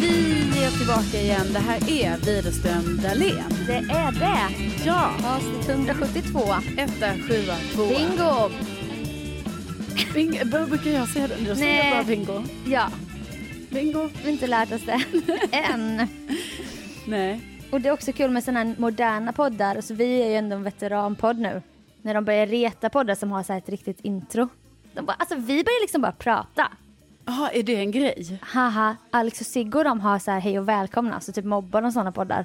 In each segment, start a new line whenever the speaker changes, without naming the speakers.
Vi är tillbaka igen. Det här är Widerström Dahlén.
Det är det.
Ja,
Avsnitt 172.
etta, sjua, tvåa.
Bingo!
Bingo. Bör- Brukar jag säga det? Du säger
Nej.
bara bingo.
Ja,
Bingo.
vi har inte lärt oss det än.
Nej.
Och det är också kul med sådana här moderna poddar. Så vi är ju ändå en veteranpodd nu. När de börjar reta poddar som har så här ett riktigt intro. De bara, alltså vi börjar liksom bara prata.
Jaha, är det en grej?
Haha, Alex och Sigge och de har så här hej och välkomna. Så typ mobbar de sådana poddar.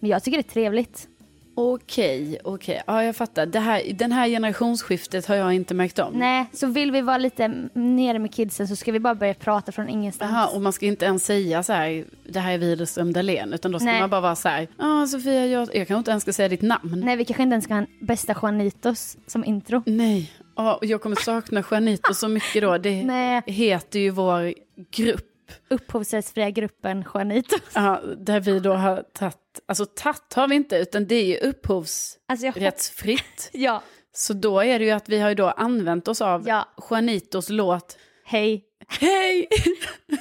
Men jag tycker det är trevligt.
Okej, okej. Ja, jag fattar. Det här, den här generationsskiftet har jag inte märkt om.
Nej, så vill vi vara lite nere med kidsen så ska vi bara börja prata från ingenstans.
Jaha, och man ska inte ens säga så här, det här är Widerström Dahlén, utan då ska
Nej.
man bara vara så här, ja Sofia, jag, jag kan inte ens ska säga ditt namn.
Nej, vi kanske inte ens ska ha en bästa Juanitos som intro.
Nej, ja, och jag kommer sakna Juanito så mycket då, det
Nej.
heter ju vår grupp.
Upphovsrättsfria gruppen Juanitos.
Ja, där vi då har tagit, alltså tagit har vi inte, utan det är ju upphovsrättsfritt.
Alltså jag Ja,
Så då är det ju att vi har ju då använt oss av
Ja.
Juanitos låt
hej.
Hej!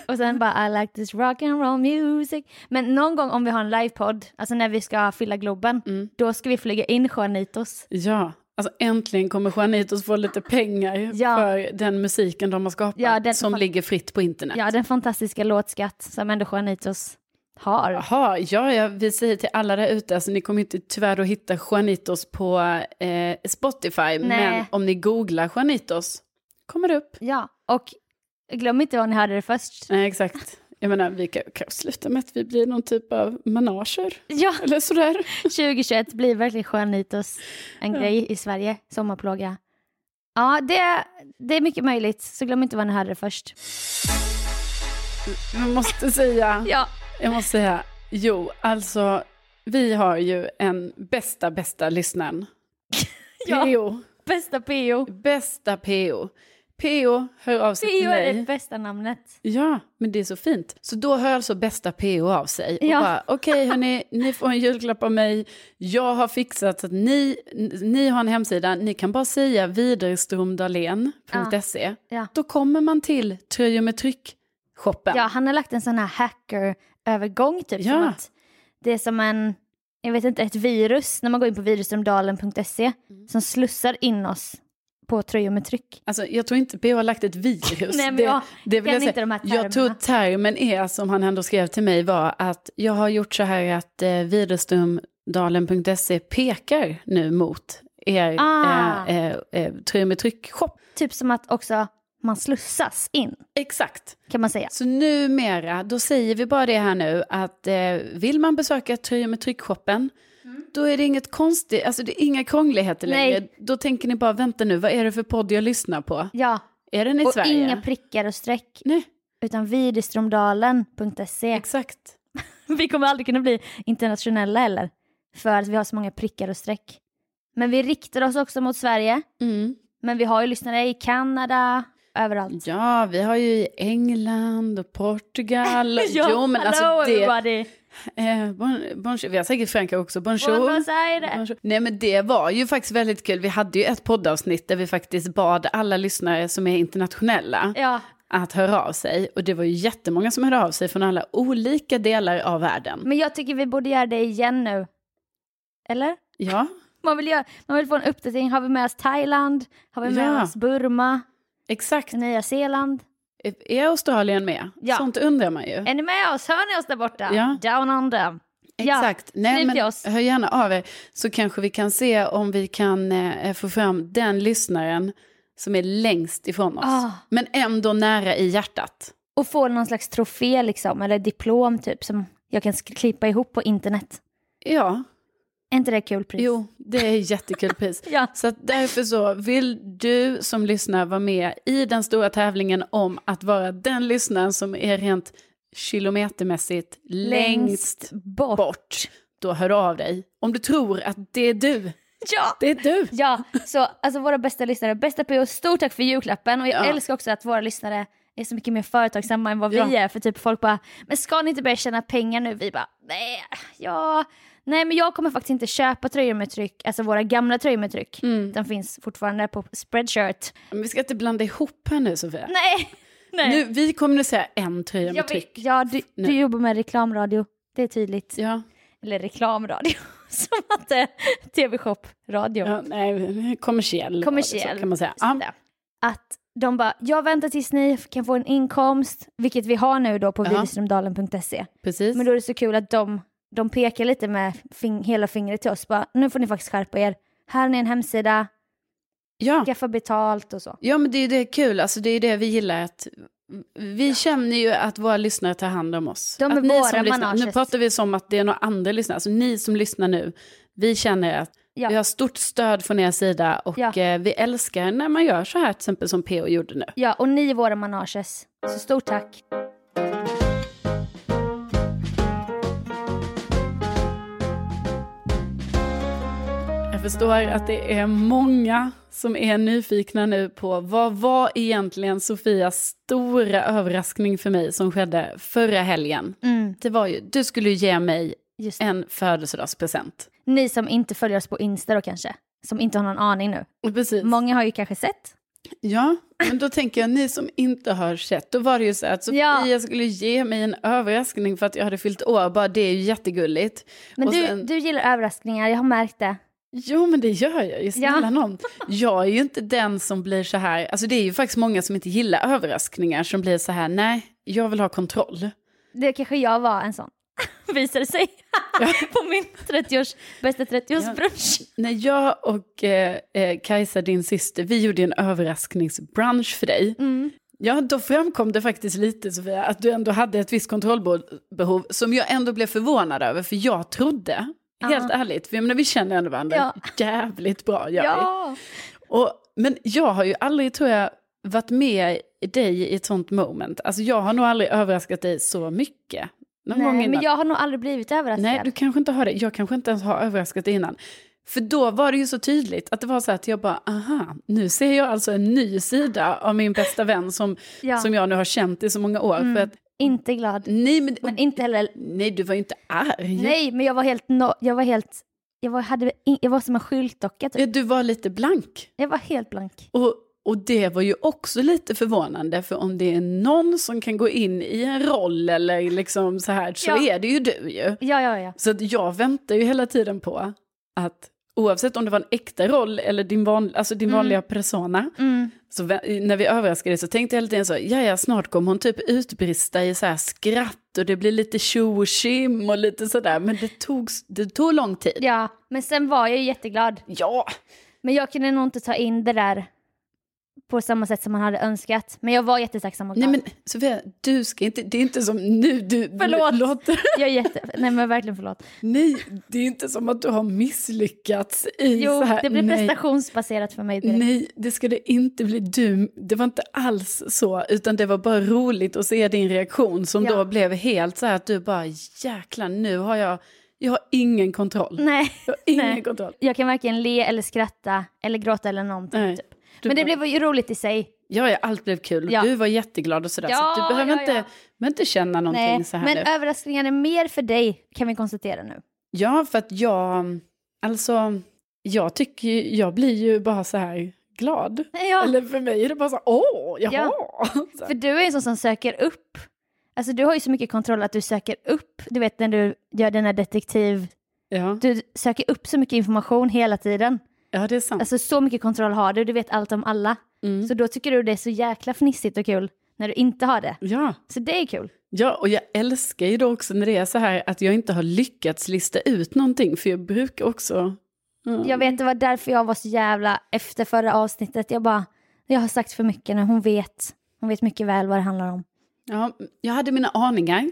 Och sen bara I like this rock and roll music. Men någon gång om vi har en livepodd, alltså när vi ska fylla Globen, då ska vi flyga in Juanitos.
Ja, alltså äntligen kommer Juanitos få lite pengar
Ja.
för den musiken de har skapat
Ja, den-
som
fan-
ligger fritt på internet.
Ja, den fantastiska låtskatt som ändå Juanitos har.
Jaha, ja, ja, vi säger till alla där ute, alltså, ni kommer inte tyvärr att hitta Juanitos på eh, Spotify, men om ni googlar Juanitos kommer det upp.
Ja, och glöm inte var ni hörde det först.
Nej, exakt. Jag menar, vi kan, kan sluta med att vi blir någon typ av manager,
Ja,
eller sådär.
2021 blir verkligen Juanitos en grej i Sverige, sommarplåga. Ja, det, det är mycket möjligt, så glöm inte var ni hörde det först.
Jag måste säga,
Ja,
jag måste säga, jo, alltså, vi har ju en bästa, bästa lyssnaren.
Ja.
PO,
bästa PO.
bästa PO. PO hör av sig till
PO är
mig.
det bästa namnet.
Ja, men det är så fint. Så då hör alltså bästa PO av sig och
Ja.
bara, okej hörni, ni får en julklapp av mig, jag har fixat så att ni, ni har en hemsida, ni kan bara säga widerstromdahlén.se,
Ja.
då kommer man till tröjor med tryck-shoppen.
Ja, han har lagt en sån här hacker-övergång typ. Som
Ja.
att det är som en,
Mm.
jag vet inte, ett virus när man går in på virusrumdalen.se som slussar in oss på tröjor med tryck.
Alltså, jag tror inte BH har lagt ett virus.
Nej, men
Det-
jag
det vill
kan
jag säga.
inte de här termerna.
Jag tror termen är, som han ändå skrev till mig, var att jag har gjort så här att eh, viderströmdalen.se pekar nu mot er
Ah.
eh, eh, eh, tröjor med tryck-shop.
Typ som att också man slussas in,
Exakt.
kan man säga.
Så numera, då säger vi bara det här nu, att eh, vill man besöka Tröjor med tryckshoppen, då är det inget konstigt, alltså det är inga krångligheter
Mm. Nej.
längre. Då tänker ni bara, vänta nu, vad är det för podd jag lyssnar på?
Ja,
Är den i
och
Sverige?
inga prickar och streck.
Nej,
Utan videstromdalen.se.
exakt.
Vi kommer aldrig kunna bli internationella heller. För att vi har så många prickar och streck. Men vi riktar oss också mot Sverige.
Mm.
Men vi har ju lyssnare i Kanada, överallt.
Ja, vi har ju i England och Portugal.
Ja,
jo, men
hello
alltså det...
everybody!
Eh, bon, bonjour. Vi har säkert Frankrike också. Bonjour.
Buenos Aires!
Bonjour. Nej men det var ju faktiskt väldigt kul. Vi hade ju ett poddavsnitt där vi faktiskt bad alla lyssnare som är internationella
Ja,
att höra av sig. Och det var ju jättemånga som hörde av sig från alla olika delar av världen.
men jag tycker vi borde göra det igen nu. Eller?
Ja,
Man vill, göra, man vill få en uppdatering. Har vi med oss Thailand? Har vi med
Ja.
oss Burma?
exakt.
Nya Zeeland?
Är Australien med?
Mm. Ja.
Sånt undrar man ju.
Är ni med oss? Hör ni oss där borta?
Ja.
Down under.
Exakt.
Ja,
Nej,
skriv till
men
oss.
hör gärna av er så kanske vi kan se om vi kan eh, få fram den lyssnaren som är längst ifrån oss.
Ah.
Men ändå nära i hjärtat.
Och få någon slags trofé liksom, eller diplom typ som jag kan sk- klippa ihop på internet.
Ja,
Är inte det kul pris?
jo, det är jättekul pris.
Ja.
Så att därför så vill du som lyssnar vara med i den stora tävlingen om att vara den lyssnaren som är rent kilometermässigt längst,
bort.
bort. Då hör du av dig. Om du tror att det är du,
Ja!
det är du.
Ja, så alltså våra bästa lyssnare, bästa PO, stort tack för julklappen. Och jag
Ja.
älskar också att våra lyssnare är så mycket mer företagsamma än vad vi
Ja.
är. För typ folk bara, men ska ni inte börja tjäna pengar nu? Vi bara, nej, ja. Nej men jag kommer faktiskt inte köpa tröjor med tryck, alltså våra gamla tröjor med tryck.
Mm.
De finns fortfarande på Spreadshirt.
Men vi ska inte blanda ihop här nu Sofia.
Nej! nej.
Nu, vi kommunicerar en tröja
jag
med
vet,
tryck.
ja, du,
Nu.
du jobbar med reklamradio, det är tydligt.
Ja,
Eller reklamradio, som att det är tv-shop-radio.
ja, nej, kommersiell.
kommersiell.
Så kan man säga.
Så
Ja,
där. Att de bara, jag väntar tills ni kan få en inkomst, vilket vi har nu då på
Ja.
widerströmdalen.se.
precis.
Men då är det så kul att de, de pekar lite med fing, hela fingret till oss, bara, nu får ni faktiskt skärpa er. Här är en hemsida,
ja.
skaffa betalt och så.
ja, men det är ju det kul. Alltså, det är ju det vi gillar. Att, vi känner ju att våra lyssnare tar hand om oss.
De är
att ni
våra
som lyssnar, nu
manages.
pratar vi som att det är några andra lyssnare. Alltså ni som lyssnar nu, vi känner att
Ja.
vi har stort stöd från er sida och
Ja.
eh, vi älskar när man gör så här, till exempel som PO gjorde nu.
Ja, och ni är våra manages. Så stort tack.
Jag förstår att det är många som är nyfikna nu på vad var egentligen Sofias stora överraskning för mig som skedde förra helgen.
Mm,
Det var ju, du skulle ju ge mig
just.
en födelsedagspresent.
Ni som inte följer oss på Insta då kanske, som inte har någon aning nu.
Precis.
Många har ju kanske sett.
Ja, men då tänker jag ni som inte har sett, då var det ju så att Sofia
Ja.
skulle ge mig en överraskning för att jag hade fyllt år, bara det är ju jättegulligt.
Men
Och
du,
sen-
du gillar överraskningar, jag har märkt det.
Jo, men det gör jag ju. Snälla
Ja.
nån. Jag är ju inte den som blir så här... Alltså det är ju faktiskt många som inte gillar överraskningar som blir så här, nej, jag vill ha kontroll.
Det kanske jag var en sån, visade sig. på min 30-års, bästa 30-årsbrunch.
När jag och eh, eh, Kajsa, din syster, vi gjorde en överraskningsbrunch för dig.
Mm.
Ja, då framkom det faktiskt lite, Sofia, att du ändå hade ett visst kontrollbehov som jag ändå blev förvånad över, för jag trodde, helt ärligt, vi, men vi känner ändå varandra
Ja.
jävligt bra, gör
Ja.
vi. Och, men jag har ju aldrig, tror jag, varit med dig i ett sånt moment. Alltså jag har nog aldrig överraskat dig så mycket. Någon gång
Nej,
innan.
men jag har nog aldrig blivit överraskad.
Nej, du kanske inte har det. Jag kanske inte ens har överraskat dig innan. För då var det ju så tydligt att det var så här att jag bara, aha, nu ser jag alltså en ny sida av min bästa vän som,
Ja.
som jag nu har känt i så många år. För att,
Inte glad.
nej, men,
Men inte heller...
nej, du var ju inte arg.
Nej, men jag var helt... No, jag var helt... Jag var, hade, in- jag var som en skyltdocka typ.
Du var lite blank.
Jag var helt blank.
Och, och det var ju också lite förvånande, för om det är någon som kan gå in i en roll eller liksom så här, så
Ja.
är det ju du ju.
Ja, ja, ja.
Så att jag väntar ju hela tiden på att oavsett om det var en äkta roll eller din, van, alltså
Mm.
din vanliga persona, så vä- när vi överraskade så tänkte jag lite grann så, ja ja snart kommer hon typ utbrista i så här skratt och det blir lite tjo och tjim och lite sådär, men det tog, det tog lång tid.
Ja, men sen var jag ju jätteglad.
Ja.
Men jag kunde nog inte ta in det där på samma sätt som man hade önskat. Men jag var jättetacksam och
Nej
glad.
men Sofia, du ska inte, det är inte som nu du
Förlåt.
låter.
Jag är jätte... Nej men verkligen förlåt.
Nej, det är inte som att du har misslyckats i
Jo,
så här.
det blir
nej.
prestationsbaserat för mig direkt.
Nej, det skulle inte bli du. Det var inte alls så, utan det var bara roligt att se din reaktion som
Ja.
då blev helt så här att du bara jäklar nu har jag, jag har ingen kontroll.
Nej.
Jag har ingen
Nej.
kontroll.
Jag kan varken le eller skratta eller gråta eller någonting.
Nej.
Typ.
Du
Men det
bara-
blev ju roligt i sig.
Ja, ja, allt blev kul och
Ja.
du var jätteglad och sådär.
Ja,
så att du behöver
ja, ja.
inte, behöver inte känna någonting
Nej.
så här
Men äh-
nu.
överraskningen är mer för dig kan vi konstatera nu.
Ja, för att jag, alltså, jag tycker ju, jag blir ju bara så här glad.
Ja.
Eller för mig är det bara så här, åh, jaha.
Ja.
Så här.
För du är en sån som söker upp. Alltså du har ju så mycket kontroll att du söker upp. Du vet när du gör den här detektiv...
ja.
Du söker upp så mycket information hela tiden.
ja, det är sant.
Alltså så mycket kontroll har du, du vet allt om alla.
Mm.
Så då tycker du det är så jäkla fnissigt och kul när du inte har det.
Ja.
Så det är kul.
ja, och jag älskar ju då också när det är så här att jag inte har lyckats lista ut någonting, för jag brukar också... Mm.
Jag vet, det var därför jag var så jävla efter förra avsnittet. Jag bara, jag har sagt för mycket nu, hon vet. Hon vet mycket väl vad det handlar om.
Ja, jag hade mina aningar,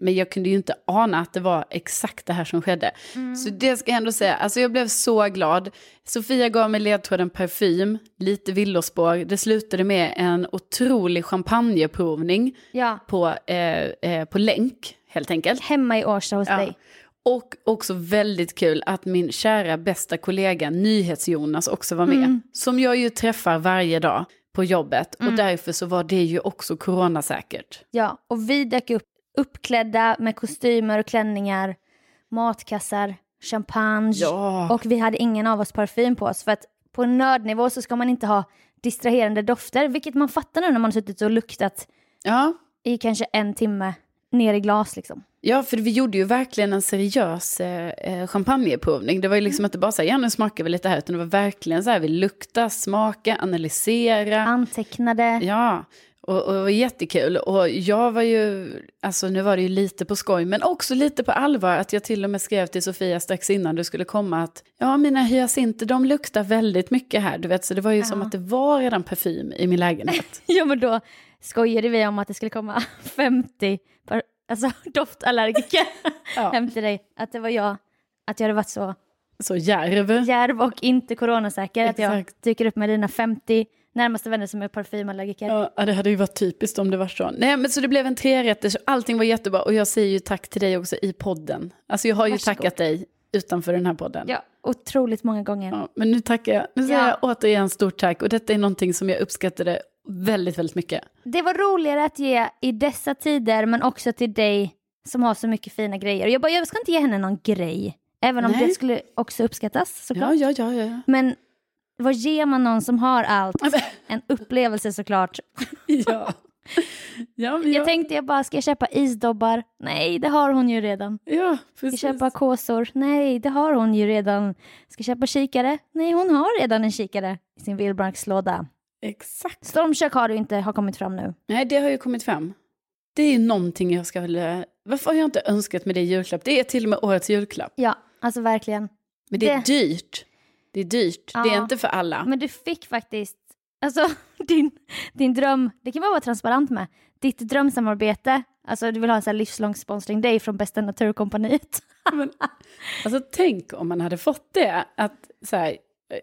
men jag kunde ju inte ana att det var exakt det här som skedde.
Mm.
Så det ska jag ändå säga, alltså jag blev så glad. Sofia gav mig ledtråden parfym, lite villospår. Det slutade med en otrolig champagneprovning
Ja,
på, eh, eh, på länk, helt enkelt.
hemma i Årsta hos dig.
Och också väldigt kul att min kära bästa kollega NyhetsJonas också var med. Som jag ju träffar varje dag på jobbet. Och därför så var det ju också coronasäkert.
Ja, och vi dök upp uppklädda med kostymer och klänningar, matkassar, champagne.
Ja.
Och vi hade ingen av oss parfym på oss för att på nördnivå så ska man inte ha distraherande dofter, vilket man fattar nu när man har suttit och luktat
Ja,
i kanske en timme ner i glas liksom.
Ja, för vi gjorde ju verkligen en seriös eh, eh, champagneprovning. Det var ju liksom inte bara så här, ja nu smakar vi lite här, utan det var verkligen så här, vi lukta, smaka, analysera.
Antecknade.
Ja, och, och det var jättekul. Och jag var ju, alltså nu var det ju lite på skoj, men också lite på allvar, att jag till och med skrev till Sofia strax innan du skulle komma att, ja mina hyacinter, de luktar väldigt mycket här, du vet, så det var ju som att det var redan parfym i min lägenhet.
Ja men då skojade vi om att det skulle komma 50 par, alltså, doftallergiker
Ja.
hem till dig. Att det var jag, att jag hade varit så
Så djärv.
djärv och inte coronasäker. Att jag
Exakt.
dyker upp med dina 50 närmaste vänner som är parfymallergiker.
Ja, ja, det hade ju varit typiskt om det var så. Nej, men så det blev en trerätters, allting var jättebra och jag säger ju tack till dig också i podden. Alltså jag har ju
Varsågod.
tackat dig utanför den här podden.
Ja, otroligt många gånger.
Ja, men nu tackar jag, nu säger
Ja.
jag återigen stort tack och detta är någonting som jag uppskattade väldigt, väldigt mycket.
Det var roligare att ge i dessa tider men också till dig som har så mycket fina grejer. Och Jag bara, jag ska inte ge henne någon grej. Även om
Nej.
det skulle också uppskattas såklart.
Ja, ja, ja, ja.
Men vad ger man någon som har allt? En upplevelse såklart.
ja. ja, men
Jag
jag,
tänkte jag bara, ska jag köpa isdobbar? Nej, det har hon ju redan.
ja
Ska jag
precis.
köpa kåsor? Nej, det har hon ju redan. Ska jag köpa kikare? Nej, hon har redan en kikare i sin vildmarkslåda.
Exakt.
Stormkök har du inte, har kommit fram nu.
Nej, det har ju kommit fram. Det är ju någonting jag ska väl... eh, Varför har jag inte önskat mig det i julklapp? Det är till och med årets julklapp.
Ja, alltså verkligen.
Men det är
Det-
dyrt. Det är dyrt. Det är
Ja.
inte för alla.
Men du fick faktiskt, alltså din, din dröm, det kan man vara transparent med, ditt drömsamarbete, alltså du vill ha en sån här livslång sponsring, det är från Bästa Naturkompaniet.
Alltså tänk om man hade fått det. Att, så här,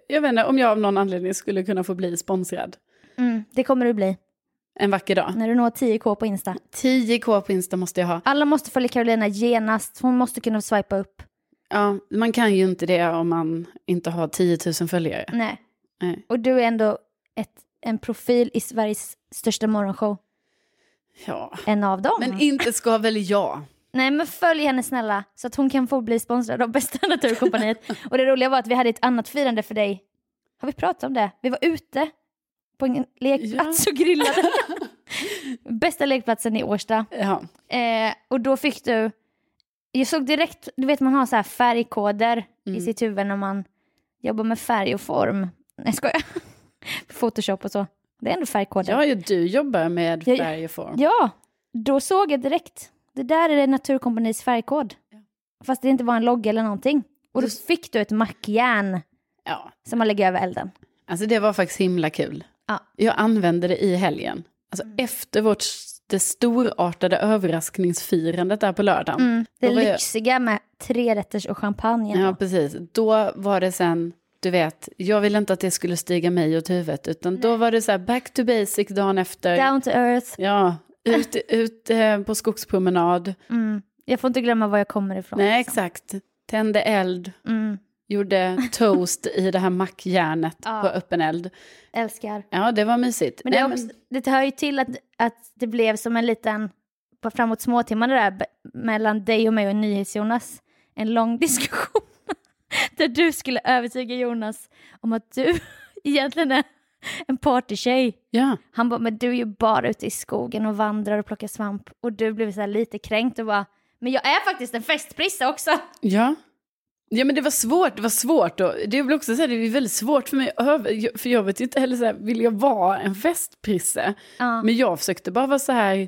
jag vet inte, om jag av någon anledning skulle kunna få bli sponsrad
Mm, det kommer du bli
en vacker dag.
när du når 10k på Insta.
10k på Insta måste jag ha.
Alla måste följa Carolina genast, hon måste kunna swipa upp.
Ja, man kan ju inte det om man inte har 10 000 följare. Eh,
Nej.
Nej.
Och du är ändå ett, en profil i Sveriges största morgonshow,
Ja.
en av dem.
Men inte ska väl jag?
Nej men följ henne snälla så att hon kan få bli sponsrad av Bästa Naturkompaniet. och det roliga var att vi hade ett annat firande för dig. Har vi pratat om det? Vi var ute på en lekplats och grillade. Bästa lekplatsen i Årsta.
Ja.
Eh, och då fick
Mm.
du, jag såg direkt, du vet man har så här färgkoder i sitt huvud när man jobbar med färg och form. Nej, skojar. Photoshop och så. Det är ändå färgkoder.
Ja, ju du jobbar med
Jag-
färg och form.
Ja, då såg jag direkt. Det där är det Naturkompaniets färgkod. Fast det inte var en logga eller någonting. Och då fick du ett mackjärn
Ja.
som man lägger över elden.
Alltså det var faktiskt himla kul.
Ja. Mm.
Jag använde det i helgen. Alltså efter vårt, det storartade överraskningsfirandet där på lördagen.
Det
Då var jag-
lyxiga med tre rätters och champagne.
Ja, precis. Då var det sen, du vet, jag ville inte att det skulle stiga mig åt huvudet, utan då var det så här back to basic dagen efter.
Down to earth.
Ja, ut, ut eh, på skogspromenad.
Mm. Jag får inte glömma var jag kommer ifrån.
Nej,
liksom.
exakt. Tände eld,
Mm.
gjorde toast i det här mackjärnet
Ja.
på öppen eld.
Älskar.
Ja, det var mysigt.
Men det, är
Nej,
också, det hör ju till att, att det blev som en liten, på framåt småtimmarna där, be- mellan dig och mig och NyhetsJonas, en lång diskussion där du skulle övertyga Jonas om att du egentligen är en partytjej.
ja.
Han bara, men du är ju bara ute i skogen och vandrar och plockar svamp. Och du blev så här lite kränkt och bara, men jag är faktiskt en festprissa också.
Ja. Ja men det var svårt, det var svårt och det blev också så här, det är väldigt svårt för mig att över- jag- för jag vet ju inte heller så här, vill jag vara en festprisse?
Ja.
Men jag försökte bara vara så här,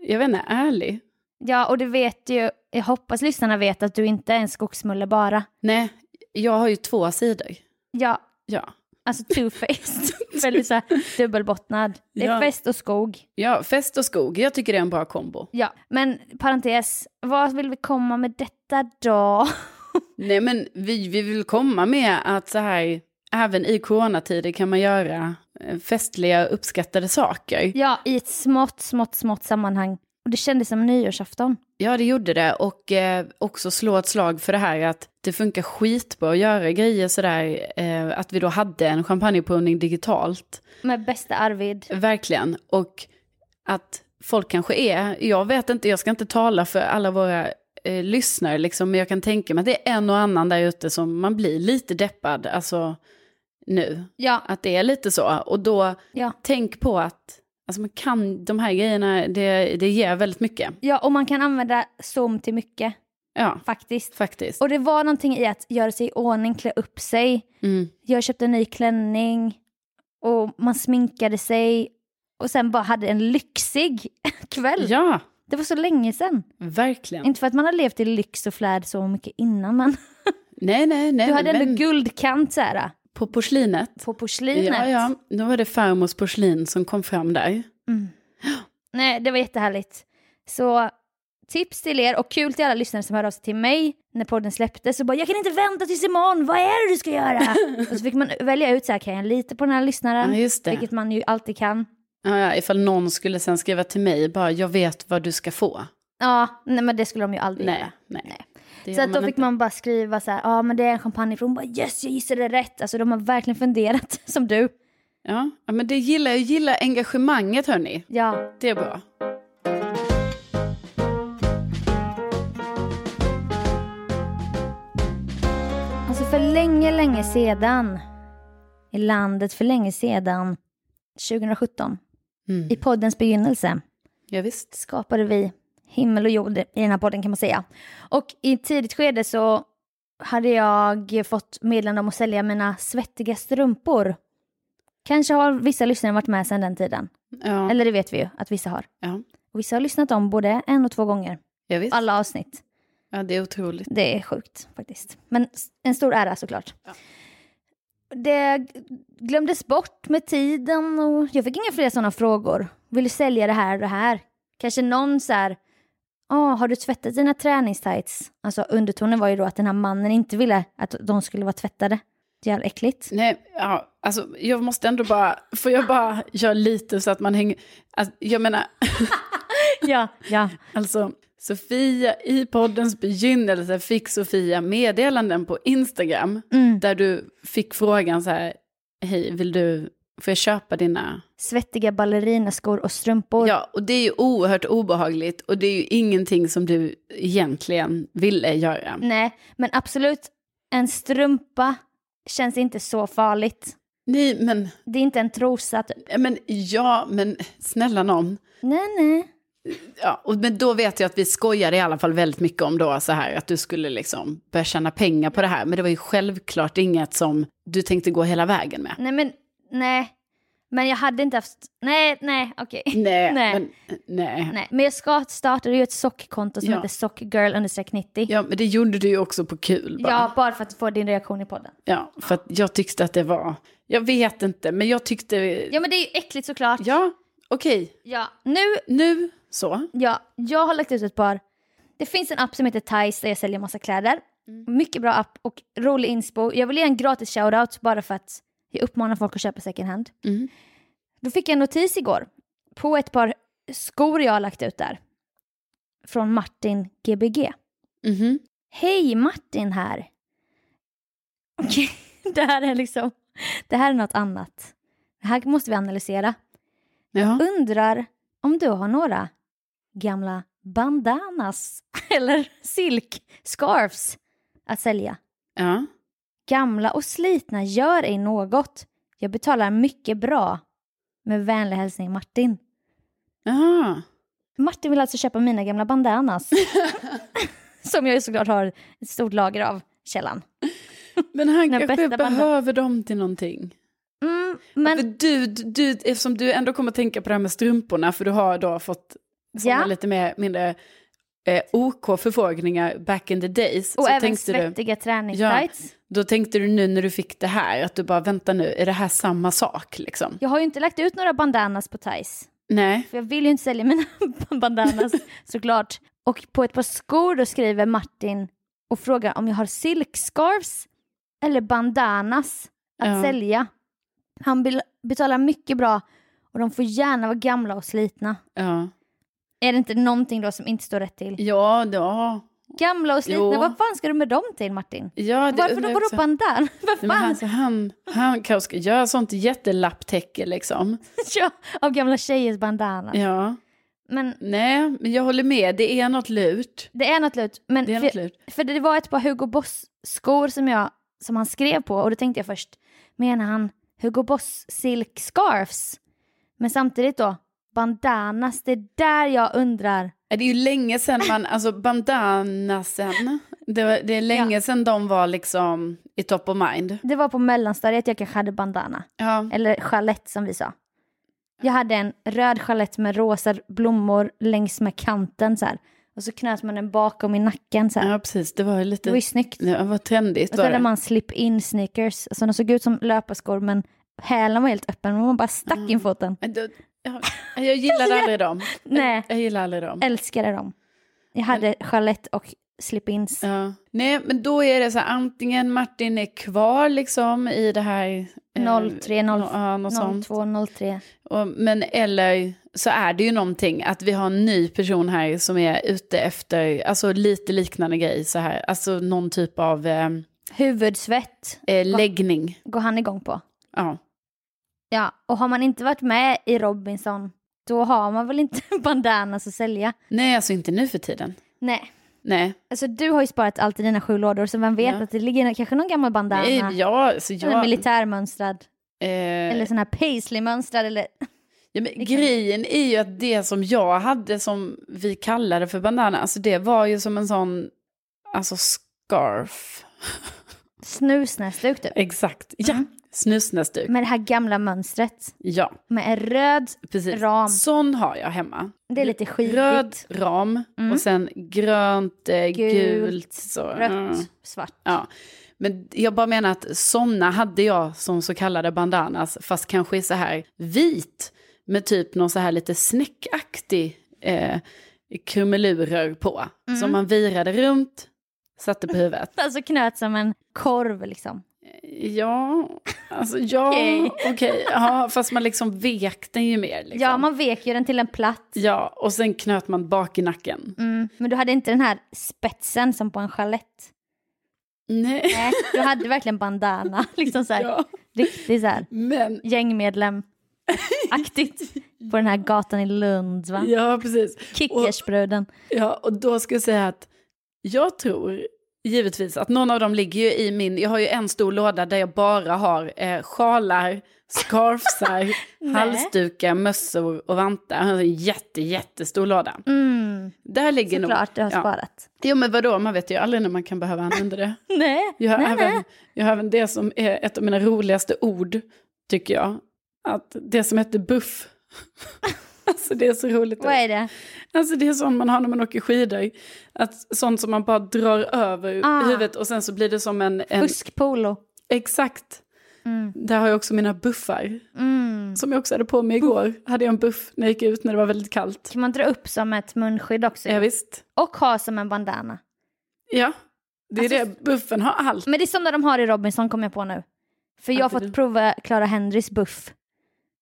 jag vet inte, ärlig.
ja, och du vet ju, jag hoppas lyssnarna vet att du inte är en skogsmulle bara.
Nej, jag har ju två sidor.
Ja,
Ja,
Alltså two-faced. Väldigt så här dubbelbottnad. Det är
Ja.
fest och skog.
ja fest och skog, jag tycker det är en bra kombo.
Ja, men parentes, vad vill vi komma med detta då?
Nej men vi, vi vill komma med att så här, även i coronatider kan man göra eh, festliga uppskattade saker.
Ja, i ett smått, smått, smått sammanhang. Och det kändes som nyårsafton.
Ja, det gjorde det. Och eh, också slå ett slag för det här att det funkar skitbra att göra grejer sådär. Eh, att vi då hade en champagneprovning digitalt.
Med bästa Arvid.
Verkligen. Och att folk kanske är, jag vet inte, jag ska inte tala för alla våra eh, lyssnare, liksom, men jag kan tänka mig att det är en och annan där ute som man blir lite deppad, alltså nu.
Ja,
Att det är lite så. Och då,
ja.
tänk på att alltså, man kan, de här grejerna, det, det ger väldigt mycket.
Ja, och man kan använda Zoom till mycket,
Ja,
faktiskt.
faktiskt.
Och det var någonting i att göra sig i ordning, klä upp sig.
Mm.
Jag köpte en ny klänning och man sminkade sig. Och sen bara hade en lyxig kväll.
Ja,
Det var så länge sedan.
verkligen.
Inte för att man har levt i lyx och flärd så mycket innan, men
Nej, nej, nej.
du hade
men
ändå guldkant så här,
På porslinet.
på
Ja,
porslinet.
ja. Då var det farmors porslin som kom fram där.
Nej, det var jättehärligt. Så tips till er och kul till alla lyssnare som hörde av sig till mig när podden släpptes och bara “jag kan inte vänta tills imorgon, vad är det du ska göra?” Och så fick man välja ut så här, kan jag lita på den här lyssnaren?
Ja, just det.
Vilket man ju alltid kan.
Ja, ja, ifall någon skulle sen skriva till mig, bara jag vet vad du ska få.
Ja, nej, men det skulle de ju aldrig
Nej,
göra.
nej. Det
Så
gör
att då fick
inte.
man bara skriva så här, ja men det är en champagne från, bara yes jag gissade rätt. Alltså de har verkligen funderat som du.
Ja, ja, men det gillar jag, gillar engagemanget hörni.
Ja,
Det är bra.
Alltså för länge, länge sedan, i landet för länge sedan, 2017,
Mm.
i poddens begynnelse,
Ja, visst.
skapade vi himmel och jord i den här podden kan man säga. Och i ett tidigt skede så hade jag fått meddelande om att sälja mina svettiga strumpor. Kanske har vissa lyssnare varit med sedan den tiden.
Ja,
Eller det vet vi ju att vissa har.
ja.
Och vissa har lyssnat om både en och två gånger.
ja visst.
Alla avsnitt.
Ja, det är otroligt.
Det är sjukt faktiskt. Men s- en stor ära såklart. Det g- glömdes bort med tiden och jag fick inga fler sådana frågor. Vill du sälja det här och det här? Kanske någon så här, "Ah, har du tvättat dina träningstights? Alltså undertonen var ju då att den här mannen inte ville att de skulle vara tvättade. Det är jävla äckligt.
Nej, ja, alltså, jag måste ändå bara, får jag bara göra lite så att man hänger, alltså, jag menar,
Ja, ja.
Alltså, Sofia, i poddens begynnelse fick Sofia meddelanden på Instagram
Mm.
där du fick frågan så här, hej, vill du, får jag köpa dina?
Svettiga ballerinaskor och strumpor.
Ja, och det är ju oerhört obehagligt och det är ju ingenting som du egentligen ville göra.
Nej, men absolut, en strumpa känns inte så farligt.
Nej, men,
Det är inte en trosa typ.
men ja, men snälla någon,
Nej, nej.
Ja, och, men då vet jag att vi skojade i alla fall väldigt mycket om då så här att du skulle liksom börja tjäna pengar på det här. Men det var ju självklart inget som du tänkte gå hela vägen med.
Nej men, nej. Men jag hade inte haft, nej, nej, okej.
Nej,
Nej.
Men, nej.
Nej, men jag ska startade ju ett sockkonto som
Ja.
heter sockgirl90. Ja,
Ja, men det gjorde du ju också på kul bara.
ja, bara för att få din reaktion i podden.
Ja, för att jag tyckte att det var... Jag vet inte, men jag tyckte... Ja,
Ja men det är ju äckligt såklart.
okej.
Ja. Nu,
Nu så.
ja, jag har lagt ut ett par. Det finns en app som heter Thais där jag säljer massa kläder. Mycket bra app och rolig inspo. Jag vill ge en gratis shoutout bara för att jag uppmanar folk att köpa second hand.
Mm.
Då fick jag en notis igår på ett par skor jag har lagt ut där. Från Martin Gbg.
Mhm.
Hej Martin här. Okej, det här är liksom, det här är något annat. Det här måste vi analysera.
Ja.
Undrar om du har några gamla bandanas eller silkscarves att sälja?
ja.
Gamla och slitna, gör ej något. Jag betalar mycket bra. Med vänlig hälsning Martin.
Jaha.
Martin vill alltså köpa mina gamla bandanas. som jag ju såklart har ett stort lager av, källan.
Men han
Den
kanske
bästa banden.
behöver dem till någonting.
Mm, men
För du, du, eftersom du ändå kommer tänka på det här med strumporna, för du har då fått såna
Ja.
lite mer, mindre eh, OK-förfrågningar back in the days.
Och
så
även
tänkte du,
svettiga träningstights.
då tänkte du nu när du fick det här, att du bara vänta nu, är det här samma sak liksom?
Jag har ju inte lagt ut några bandanas på Thais.
Nej.
För jag vill ju inte sälja mina bandanas såklart. Och på ett par skor då skriver Martin och frågar om jag har silkscarves eller bandanas att
Ja.
sälja. Han vill betala mycket bra och de får gärna vara gamla och slitna.
Ja.
Är det inte någonting då som inte står rätt till?
Ja, ja.
Gamla och slitna,
Jo.
vad fan ska du med dem till Martin?
ja det
Varför
undrar
då,
jag
vadå
också.
bandan? Vad
Nej, men
fan?
alltså, han, han kanske ska göra sånt jättelapptäcke liksom.
Ja, Av gamla tjejers bandanas.
Ja.
Men
Nej, men jag håller med. Det är något lurt.
Det är något lurt. Men
Det är
för,
något lurt.
för det var ett par Hugo Boss-skor som, jag, som han skrev på och då tänkte jag först, menar han Hugo Boss silk scarves? Men samtidigt då, bandanas, det är där jag undrar.
Det är ju länge sedan man, alltså bandanasen, det, var, det är länge sedan de var liksom i top of mind.
Det var på mellanstadiet jag kanske hade bandana,
Ja,
eller chalett som vi sa. Jag hade en röd chalett med rosa blommor längs med kanten så här. Och så knöt man den bakom i nacken så här.
ja precis, det var ju lite,
Det var ju snyggt.
ja, vad trendigt
Och så
var
hade
det.
man slip-in sneakers. Alltså de såg ut som löparskor men hälen var helt öppen. Man bara stack
Mm.
in foten.
Men då- ja, Jag gillade aldrig dem.
Nej.
Jag gillar aldrig dem.
Älskade dem. Jag hade chalett och slip-ins.
Ja. Nej, men då är det så här, antingen Martin är kvar liksom i det här... eh,
03, 0,
ja, något sånt.
02, 03.
Och, men eller så är det ju någonting att vi har en ny person här som är ute efter, alltså lite liknande grej så här, alltså någon typ av eh,
Huvudsvett
eh, läggning.
går han igång på.
Ja.
Ja, och har man inte varit med i Robinson då har man väl inte bandanas att sälja.
Nej, alltså inte nu för tiden.
Nej,
Nej,
alltså du har ju sparat allt i dina sju lådor så vem vet
Ja.
att det ligger kanske någon gammal bandana.
Nej jag, så jag,
Eller militärmönstrad.
eh,
Eller sån här paisley-mönstrad eller
ja, men, grejen är ju att det som jag hade som vi kallade för bandana, alltså det var ju som en sån, alltså scarf.
snusnäsduk typ.
Exakt, ja, snusnäsduk.
Med det här gamla mönstret.
Ja,
Med en röd,
precis.
Ram.
Sån har jag hemma.
det är lite skitigt.
Röd ram
Mm.
och sen grönt, eh,
Gult,
gult, så.
rött,
mm.
svart.
Ja. Men jag bara menar att sådana hade jag som så kallade bandanas, fast kanske i så här vit med typ någon så här lite snäckaktig eh, krumelurer på.
Mm.
Som man virade runt, satte på huvudet.
Alltså knöt som en korv liksom.
Ja, alltså ja, okej.
Okej.
Ja, fast man liksom vek den ju mer. Liksom.
Ja, man vek ju den till en platt.
ja, och sen knöt man bak i nacken.
Mm. Men du hade inte den här spetsen som på en chalett.
Nej.
Nej, du hade verkligen bandana. Liksom så här,
Ja,
Riktigt så här
men
gängmedlem-aktigt. På den här gatan i Lund va?
Ja, precis. Och,
Kickersbruden.
ja, och då ska jag säga att jag tror Givetvis, att någon av dem ligger ju i min, jag har ju en stor låda där jag bara har eh, sjalar, scarfsar, halsdukar, mössor och vantar. Jag har En jätte, jättestor låda.
Mm,
Där ligger nog...
såklart, du har
ja.
sparat.
Jo men vadå, man vet ju aldrig när man kan behöva använda det.
Nej,
Jag har,
nej,
även,
nej.
jag har även det som är ett av mina roligaste ord, tycker jag. Att det som heter buff. alltså det är så roligt.
Vad är det?
Alltså det är sånt man har när man åker skidor. Att sånt som man bara drar över
Ah.
huvudet och sen så blir det som en... en
Fuskpolo.
exakt. Där har jag också mina buffar.
Mm.
Som jag också hade på mig igår. Hade jag en buff när jag gick ut när det var väldigt kallt.
Kan man dra upp som ett munskydd också?
Ja, visst.
Och ha som en bandana.
Ja, det är
Alltså-
det. Buffen har allt.
Men det är som när de har i Robinson kom jag på nu. För jag har
Att det-
fått prova Clara Henrys buff.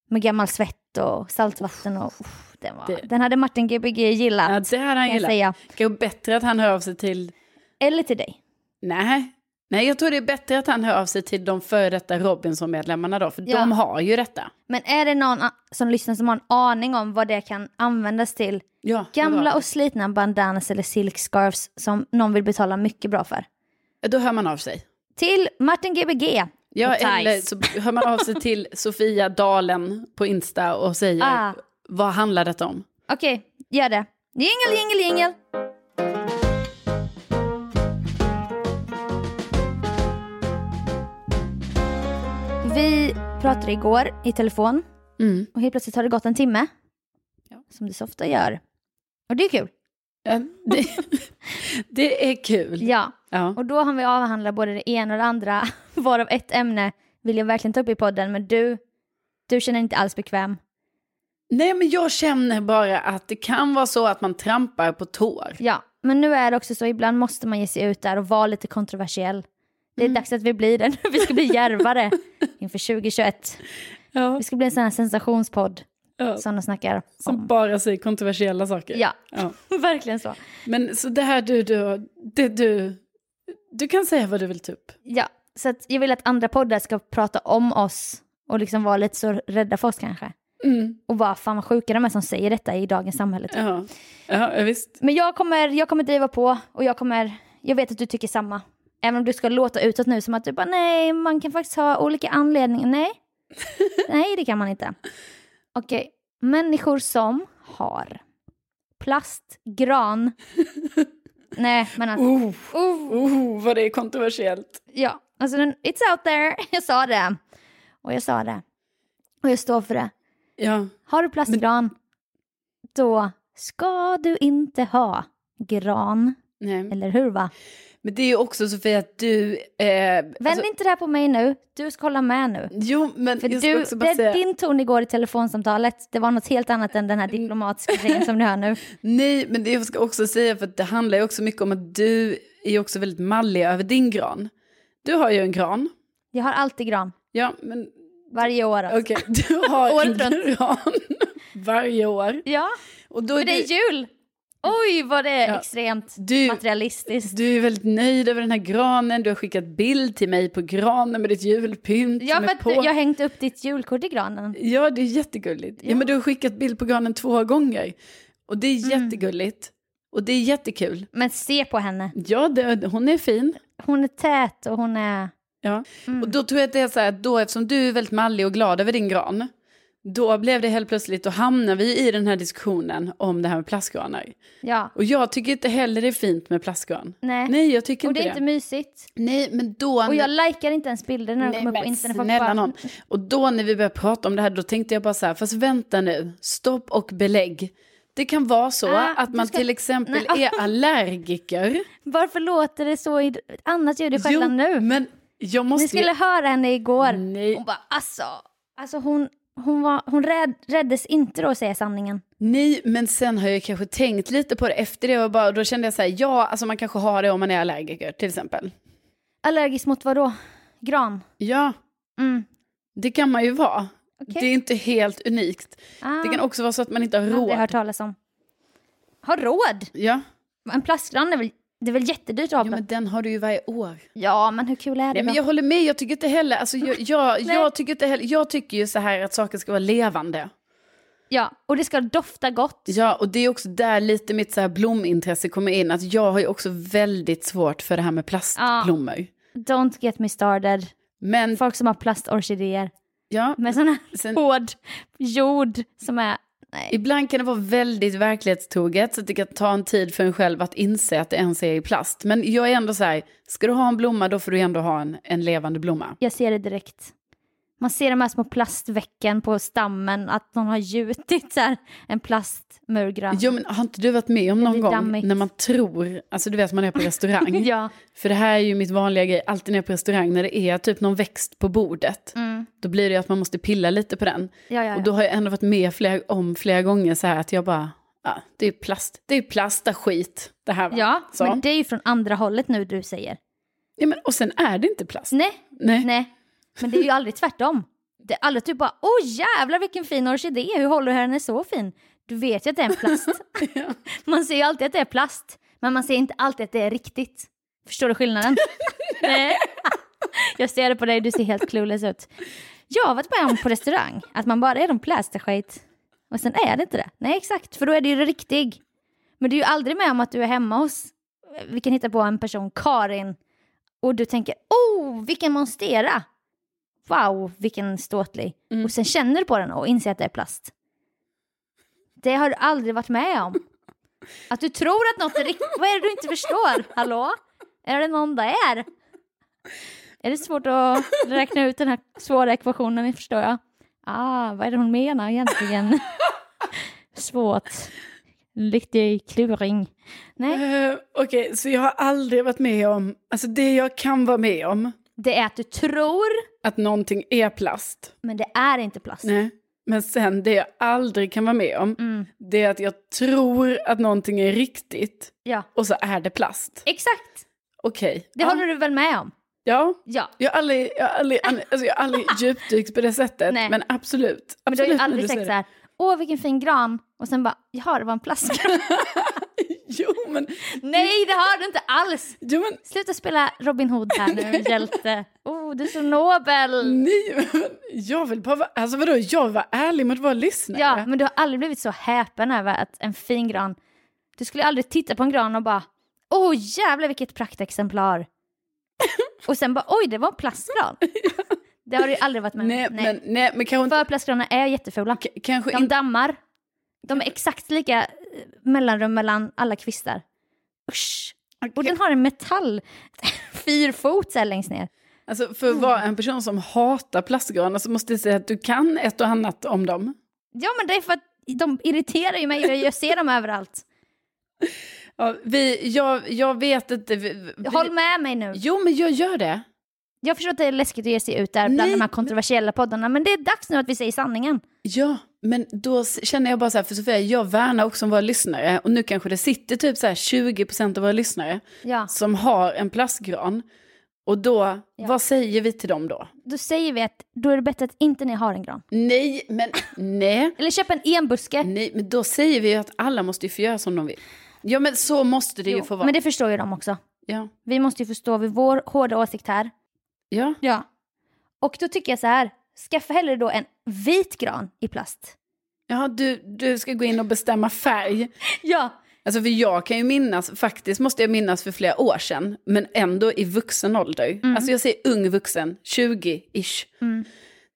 Med gammal svett och saltvatten och... uff, den, var,
Det-
den hade Martin Gbg gillat.
Ja, det hade han
kan jag
gillat.
säga.
Kanske bättre att han hör av sig till
Eller till dig.
Nej. Nej, jag tror det är bättre att han hör av sig till de före detta Robinson-medlemmarna då, för
Ja.
de har ju detta.
Men är det någon a- som lyssnar som har en aning om vad det kan användas till?
Ja,
Gamla
bra.
och slitna bandanas eller silkscarves som någon vill betala mycket bra för.
Då hör man av sig.
Till Martin Gbg.
Ja,
och Thais.
eller så hör man av sig till Sofia Dalen på Insta och säger
Ah.
vad handlar detta om?
Okej, gör det. Jingel, jingel, jingel. Vi pratade igår i telefon
Mm.
och helt plötsligt har det gått en timme.
Ja.
Som det så ofta gör. Och det är kul.
Ja, Det, det är kul.
Ja.
Ja.
Och då har vi avhandlat både det ena och det andra. Varav ett ämne vill jag verkligen ta upp i podden. Men du, du känner dig inte alls bekväm.
Nej, men jag känner bara att det kan vara så att man trampar på tår.
Ja, men nu är det också så, ibland måste man ge sig ut där och vara lite kontroversiell. Det
Mm.
är dags att vi blir det nu, vi ska bli djärvare inför 2021.
Ja,
Vi ska bli en sån här sensationspodd som de snackar
Som
om.
bara säger kontroversiella saker.
Ja,
Ja.
verkligen så.
Men så det här du, du, det du, du kan säga vad du vill typ. ta upp.
Ja, så att jag vill att andra poddar ska prata om oss och liksom vara lite så rädda för oss kanske.
Mm.
Och bara, fan vad sjuka de är som säger detta i dagens samhälle. typ.
Ja, ja ja, visst.
Men jag kommer, jag kommer driva på och jag kommer, jag vet att du tycker samma. Även om du ska låta utåt nu som att du bara nej, man kan faktiskt ha olika anledningar. Nej, nej det kan man inte. Okej, människor som har plastgran. nej, men alltså,
Oh,
oh,
oh, vad det är kontroversiellt.
ja, alltså den, it's out there. Jag sa det. Och jag sa det. Och jag står för det.
Ja,
Har du plastgran, då ska du inte ha gran.
nej.
Eller hur va?
Men det är ju också Sofia att du... Eh,
Vänd inte det här på mig nu, du ska hålla med nu.
jo, men
För
jag ska
du,
också bara
det,
säga...
din ton igår i telefonsamtalet, det var något helt annat än den här
Mm.
diplomatiska grejen som ni hör nu.
Nej, men det jag ska också säga för att det handlar ju också mycket om att du är ju också väldigt mallig över din gran. Du har ju en gran.
Jag har alltid gran,
Ja, men
varje år. alltså.
okej. Du har en
Året
gran varje år.
Ja,
Och då
för
är
det är
du,
jul! Oj vad det är
Ja.
extremt
Du-
materialistiskt.
du är väldigt nöjd över den här granen. Du har skickat bild till mig på granen med ditt julpynt
Ja
som
för
är
att
på.
du, jag har hängt upp ditt julkort i granen.
Ja, det är jättegulligt. Ja.
Ja.
men du har skickat bild på granen två gånger. Och det är
Mm.
jättegulligt. Och det är jättekul.
Men se på henne,
Ja, det, hon är fin.
hon är tät och hon är...
Ja.
Mm.
Och då tror jag att det är så här, att då, eftersom du är väldigt mallig och glad över din gran, då blev det helt plötsligt, då hamnar vi i den här diskussionen om det här med plastgranar.
Ja,
Och jag tycker inte heller det är fint med plastgran.
nej.
Nej, jag tycker
och
inte
det är
det.
inte mysigt.
Nej, men då...
Och jag likar inte ens bilder när de
Nej,
kommer upp på
men
internet. Folk
snälla
bara-
någon. Och då när vi började prata om det här, då tänkte jag bara så här, fast vänta nu, stopp och belägg. Det kan vara så
Ah,
att
du
man
ska-
till exempel
Nej.
är allergiker.
Varför låter det så i ett annat ljud i skällan nu?
men jag måste
Ni skulle
ju...
höra henne igår.
Nej.
Hon bara alltså, alltså hon, hon, var, hon rädd, räddes inte då att säga sanningen.
Nej, men sen har jag kanske tänkt lite på det efter det och bara, då kände jag så här, ja, alltså man kanske har det om man är allergiker till exempel.
Allergisk mot vad då? Gran?
Ja,
Mm.
det kan man ju vara.
Okej.
Det är inte helt unikt.
Ah,
Det kan också vara så att man inte har
Aldrig hört
råd.
talas om. Har råd?
Ja,
En plastgran är väl, det är väl jättedyrt att ha?
ja, men den har du ju varje år.
ja men hur kul är det
Nej, men
då?
jag håller med, jag tycker inte heller, alltså, jag, jag,
Nej.
jag tycker inte heller, jag tycker ju så här att saker ska vara levande.
Ja, och det ska dofta gott.
Ja, och det är också där lite mitt så här blomintresse kommer in. Att jag har ju också väldigt svårt för det här med plastblommor.
Don't get me started.
Men
Folk som har plastorkidéer
ja,
med sån här
Mm. sen,
hård jord som är... Nej.
ibland kan det vara väldigt verklighetstroget så att det kan ta en tid för en själv att inse att det ens är i plast. Men jag är ändå så här, ska du ha en blomma då får du ändå ha en, en levande blomma.
Jag ser det direkt. Man ser de här små plastvecken på stammen, att någon har gjutit så här, en plastmurgra.
Jo, men har inte du varit med om
Det
någon
blir
gång
dammigt.
när man tror, alltså du vet man är på restaurang.
Ja.
För det här är ju mitt vanliga grej, alltid när jag är på restaurang, när det är typ någon växt på bordet, då blir det ju att man måste pilla lite på den.
Mm. Ja, ja, ja.
Och då har jag ändå varit med flera, om flera gånger så här att jag bara, ah, det är ju plast, det är ju plasta skit det här va?
Ja,
så.
men det är ju från andra hållet nu du säger.
ja, men, och sen är det inte plast.
Nej,
Nej.
nej. Men det är ju aldrig tvärtom. Det är aldrig typ bara, åh jävlar vilken fin orkidé, hur håller du henne så fin? Du vet ju att det är en plast. Man ser ju alltid att det är plast, men man ser inte alltid att det är riktigt. Förstår du skillnaden? nej. Jag ser det på dig, du ser helt clueless ut. Jag har varit med om på restaurang att man bara är de plastaskit och sen är det inte det. Nej exakt, för då är det ju det riktig. Men du är ju aldrig med om att du är hemma hos, eh, vi kan hitta på en person, Karin, och du tänker oh vilken monstera, wow vilken ståtlig. Och sen känner du på den och inser att det är plast. Det har du aldrig varit med om. Att du tror att något är riktigt, vad är det du inte förstår? Hallå? Är det någon där? Är det svårt att räkna ut den här svåra ekvationen, förstår jag? Ah, vad är det hon menar egentligen? Svårt. Riktig kluring. Nej,
Eh, Okej, så jag har aldrig varit med om, alltså det jag kan vara med om,
det är att du tror,
att någonting är plast.
men det är inte plast.
Nej. Men sen det jag aldrig kan vara med om,
Mm.
det är att jag tror att någonting är riktigt
Ja,
och så är det plast.
exakt.
Okej.
Det
ja.
håller du väl med om?
Ja.
Ja.
Jag har aldrig, jag har aldrig, alltså jag har aldrig djupdykt på det sättet,
Nej.
men absolut.
Men du har ju
absolut när
aldrig
säger
sagt så här, åh vilken fin gran, och sen bara, jaha det var en plastgran.
det. Jo men,
Nej, det har du inte alls!
jo men,
Sluta spela Robin Hood här nu, hjälte. Oh, du är så nobel!
nej, men jag vill bara vara, alltså vadå, jag vill vara ärlig mot våra lyssnare.
Ja, men du har aldrig blivit så häpen över att en fin gran... Du skulle aldrig titta på en gran och bara åh oh, jävlar vilket praktexemplar. och sen bara oj det var en plastgran. det har du ju aldrig varit med om.
nej, men, nej, men kanske inte,
För plastgranar är jättefula.
k- kanske
De
inte,
dammar. De är exakt lika eh, mellanrum mellan alla kvistar. Usch. Och den har en metall fyrfot så här längst ner.
alltså för att vara
Mm.
en person som hatar plastgranar så måste jag säga att du kan ett och annat om dem.
Ja men det är för att de irriterar ju mig och jag ser dem överallt.
Ja, vi, jag, jag vet inte. Vi, vi,
Håll med mig nu.
Jo, men jag gör det.
Jag förstår att det är läskigt att ge sig ut där bland
Nej,
de här kontroversiella poddarna, men det är dags nu att vi säger sanningen.
Ja, men då s- känner jag bara så här, för Sofia, jag värnar också om våra lyssnare. Och nu kanske det sitter typ så här 20% av våra lyssnare
Ja.
som har en plastgran. Och då,
Ja.
vad säger vi till dem då?
Då säger vi att då är det bättre att inte ni har en gran.
Nej, men nej.
Eller köp en enbuske.
Nej, men då säger vi ju att alla måste ju få göra som de vill. Ja, men så måste det ju få vara.
Men det förstår ju de också.
Ja,
Vi måste ju förstå vid vår hårda åsikt här.
ja.
Ja. Och då tycker jag så här, skaffa hellre då en vit gran i plast.
ja du, du ska gå in och bestämma färg.
Ja.
Alltså för jag kan ju minnas, faktiskt måste jag minnas för flera år sedan, men ändå i vuxen ålder.
Mm.
Alltså jag säger ung vuxen, 20-ish.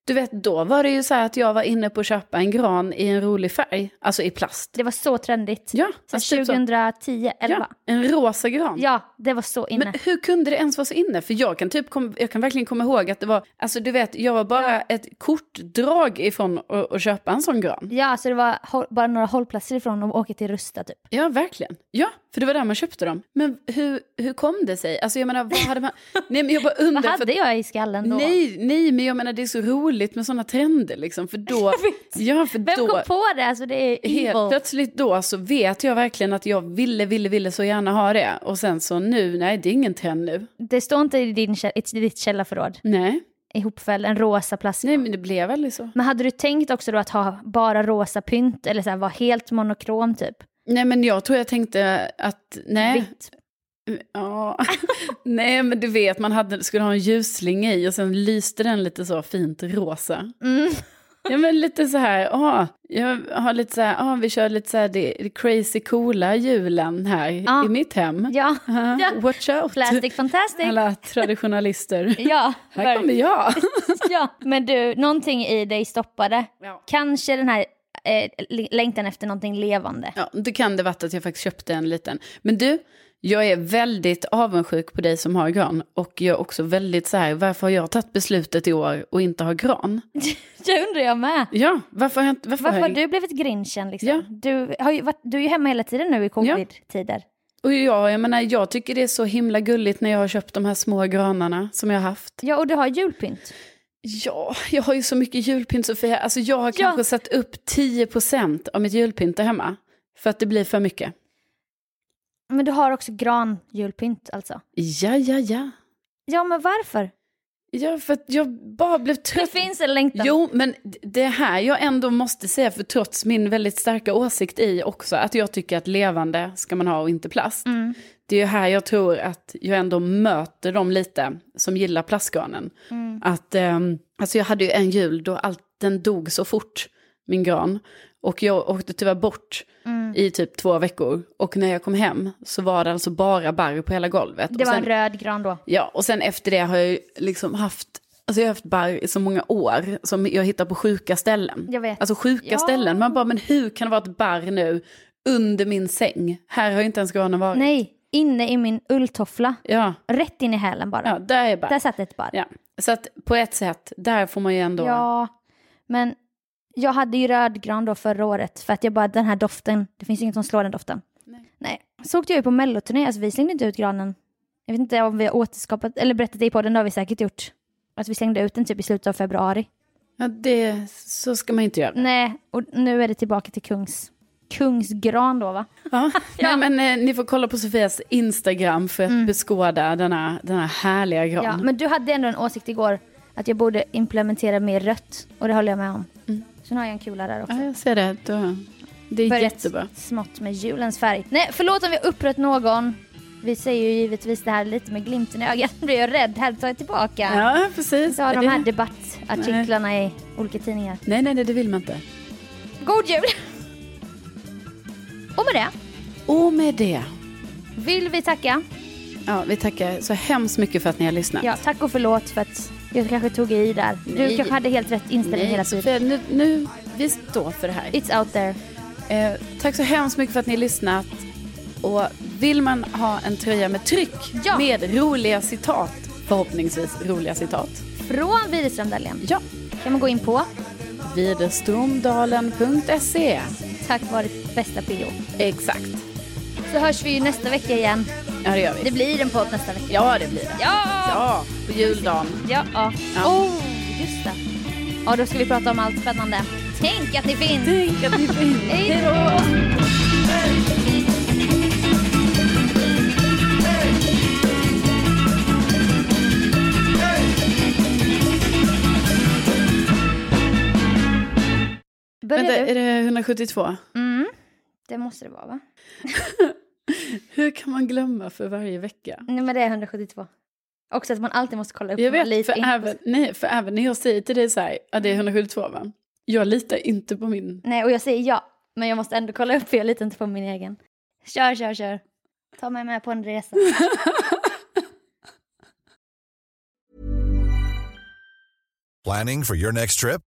Du vet, då var det ju så här att jag var inne på att köpa en gran i en rolig färg, alltså i plast.
Det var så trendigt.
Ja,
Sen
alltså typ så.
2010, 11.
Ja, en rosa gran.
Ja, det var så inne.
Men hur kunde det ens vara så inne? För jag kan, typ kom, jag kan verkligen komma ihåg att det var, alltså du vet, jag var bara ett kortdrag ifrån att, att köpa en sån gran.
Ja, så det var håll- bara några hållplatser ifrån och åka till Rusta typ.
Ja, verkligen. Ja, för det var där man köpte dem. Men hur, hur kom det sig? Alltså jag menar, vad hade man... Nej, men jag bara undrar.
Vad
för
hade
att-
jag i skallen då?
Nej, nej, men jag menar det är så roligt med sådana trender liksom. För då, ja, för
Vem
då
kom på det? Alltså det är evil.
helt plötsligt då så vet jag verkligen att jag ville, ville, ville så gärna ha det. Och sen så nu, nej det är ingen trend nu.
Det står inte i, din, kä- i ditt källarförråd
Nej,
ihopfälld, en rosa plastgran.
nej men det blev aldrig så.
Men hade du tänkt också då att ha bara rosa pynt eller så här, vara helt monokrom typ?
Nej men jag tror jag tänkte att, nej.
Vitt.
Ja. nej men du vet, man hade, skulle ha en ljusslinga i och sen lyste den lite så fint rosa.
Mm.
Ja men lite så här, ah, jag har lite så här, ah, vi kör lite så här det, det crazy coola julen här
Ja.
i mitt hem.
Ja.
Ah,
ja.
Watch out!
Plastic fantastic.
Alla traditionalister.
Ja,
Här kommer
verkligen.
jag.
ja, men du, någonting i dig stoppade.
Ja.
Kanske den här eh, l- längtan efter någonting levande.
Ja, då kan det vara att jag faktiskt köpte en liten. Men du, jag är väldigt avundsjuk på dig som har gran. Och jag är också väldigt så här, varför har jag tagit beslutet i år och inte har gran?
Det undrar jag med.
Ja, varför har jag inte... Varför
Varför
har
har
jag,
du blivit grinchen? Liksom?
Ja.
Du, har ju varit, du är ju hemma hela tiden nu i covid-tider.
Och jag, jag menar, jag tycker det är så himla gulligt när jag har köpt de här små granarna som jag har haft.
Ja. och du har julpynt.
Ja, jag har ju så mycket julpynt Sofia. Alltså jag har
Ja.
kanske satt upp 10% av mitt julpynt där hemma. För att det blir för mycket.
Men du har också granjulpynt alltså.
Ja, ja, ja.
Ja, men varför?
Ja, för att jag bara blev
Det
trött.
finns en längtan.
Jo, men det här jag ändå måste säga, för trots min väldigt starka åsikt i också, att jag tycker att levande ska man ha och inte plast.
Mm.
Det är ju här jag tror att jag ändå möter dem lite som gillar plastgranen.
Mm.
Att, ehm, alltså jag hade ju en jul då allt, den dog så fort, min gran. Och jag åkte tyvärr bort
Mm.
i typ två veckor. Och när jag kom hem så var det alltså bara barr på hela golvet.
Det
och
var
sen,
en röd gran då.
Ja, och sen efter det har jag ju liksom haft, alltså jag har haft barr i så många år som jag hittar på sjuka ställen.
Jag vet.
Alltså sjuka
Ja.
ställen. Man bara, men hur kan det vara ett barr nu under min säng? Här har ju inte ens granen varit.
Nej, inne i min ulltoffla.
Ja,
Rätt in i hälen bara.
ja, där är
Där
barr.
satt ett barr.
Ja. Så att på ett sätt, där får man ju ändå...
Ja, men jag hade ju rödgran då förra året för att jag bara, den här doften, det finns ju inget som slår den doften. Nej. Så åkte jag ju på melloturné, alltså vi slängde inte ut granen. Jag vet inte om vi har återskapat, eller berättat det i podden, det har vi säkert gjort. Att vi slängde ut den typ i slutet av februari.
Ja, det, så ska man ju inte göra.
Nej, och nu är det tillbaka till kungs, kungsgran då va?
Ja. Nej, men eh, ni får kolla på Sofias Instagram för att beskåda denna, denna härliga gran.
Mm. Ja, men du hade ändå en åsikt igår att jag borde implementera mer rött och det håller jag med om. Sen har jag en kula där också.
Mm. ja, jag ser det. Då- Det är
Börjat
jättebra.
smått med julens färg. Nej, förlåt om vi har upprört någon. Vi säger ju givetvis det här lite med glimten i ögat. Nu blir jag rädd. Här tar jag tillbaka.
Ja, precis.
Så har de här
Det-
debattartiklarna i olika tidningar.
Nej, nej, nej, det vill man inte.
God jul! Och med det
Och med det,
vill vi tacka.
ja, vi tackar så hemskt mycket för att ni har lyssnat.
Ja, tack och förlåt för att jag kanske tog i där. Du
Nej.
kanske hade helt rätt inställning hela
Nej,
tiden.
Sofia, nu, nu, vi står för det här.
It's out there.
Eh, tack så hemskt mycket för att ni har lyssnat. Och vill man ha en tröja med tryck
Ja.
med roliga citat, förhoppningsvis roliga citat,
Från Widerström Dahlén
ja,
kan man gå in på
widerstromdalen.se.
Tack vare bästa PO.
Exakt,
Så hörs vi ju nästa vecka igen.
ja det gör vi.
Det blir en podd nästa vecka.
Ja, det blir det.
Ja!
Ja, på juldagen.
Ja. ja.
Ja.
Oh, just det. Ja, då ska vi prata om allt spännande. Tänk att ni finns!
Tänk att ni får in
Hej då!
Vänta,
Börjar
är
du?
det 172?
Mm. Det måste det vara, va?
Hur kan man glömma för varje vecka?
Nej, men det är 172. Också att man alltid måste kolla upp
Jag
om man
vet,
litar
för
inte på
även, nej, för även när jag säger till dig så här, ja det är 172 va? Jag litar inte på min...
Nej, och jag säger ja. Men jag måste ändå kolla upp för jag litar inte på min egen. Kör, kör, kör. Ta mig med på en resa.
Planning for your next trip?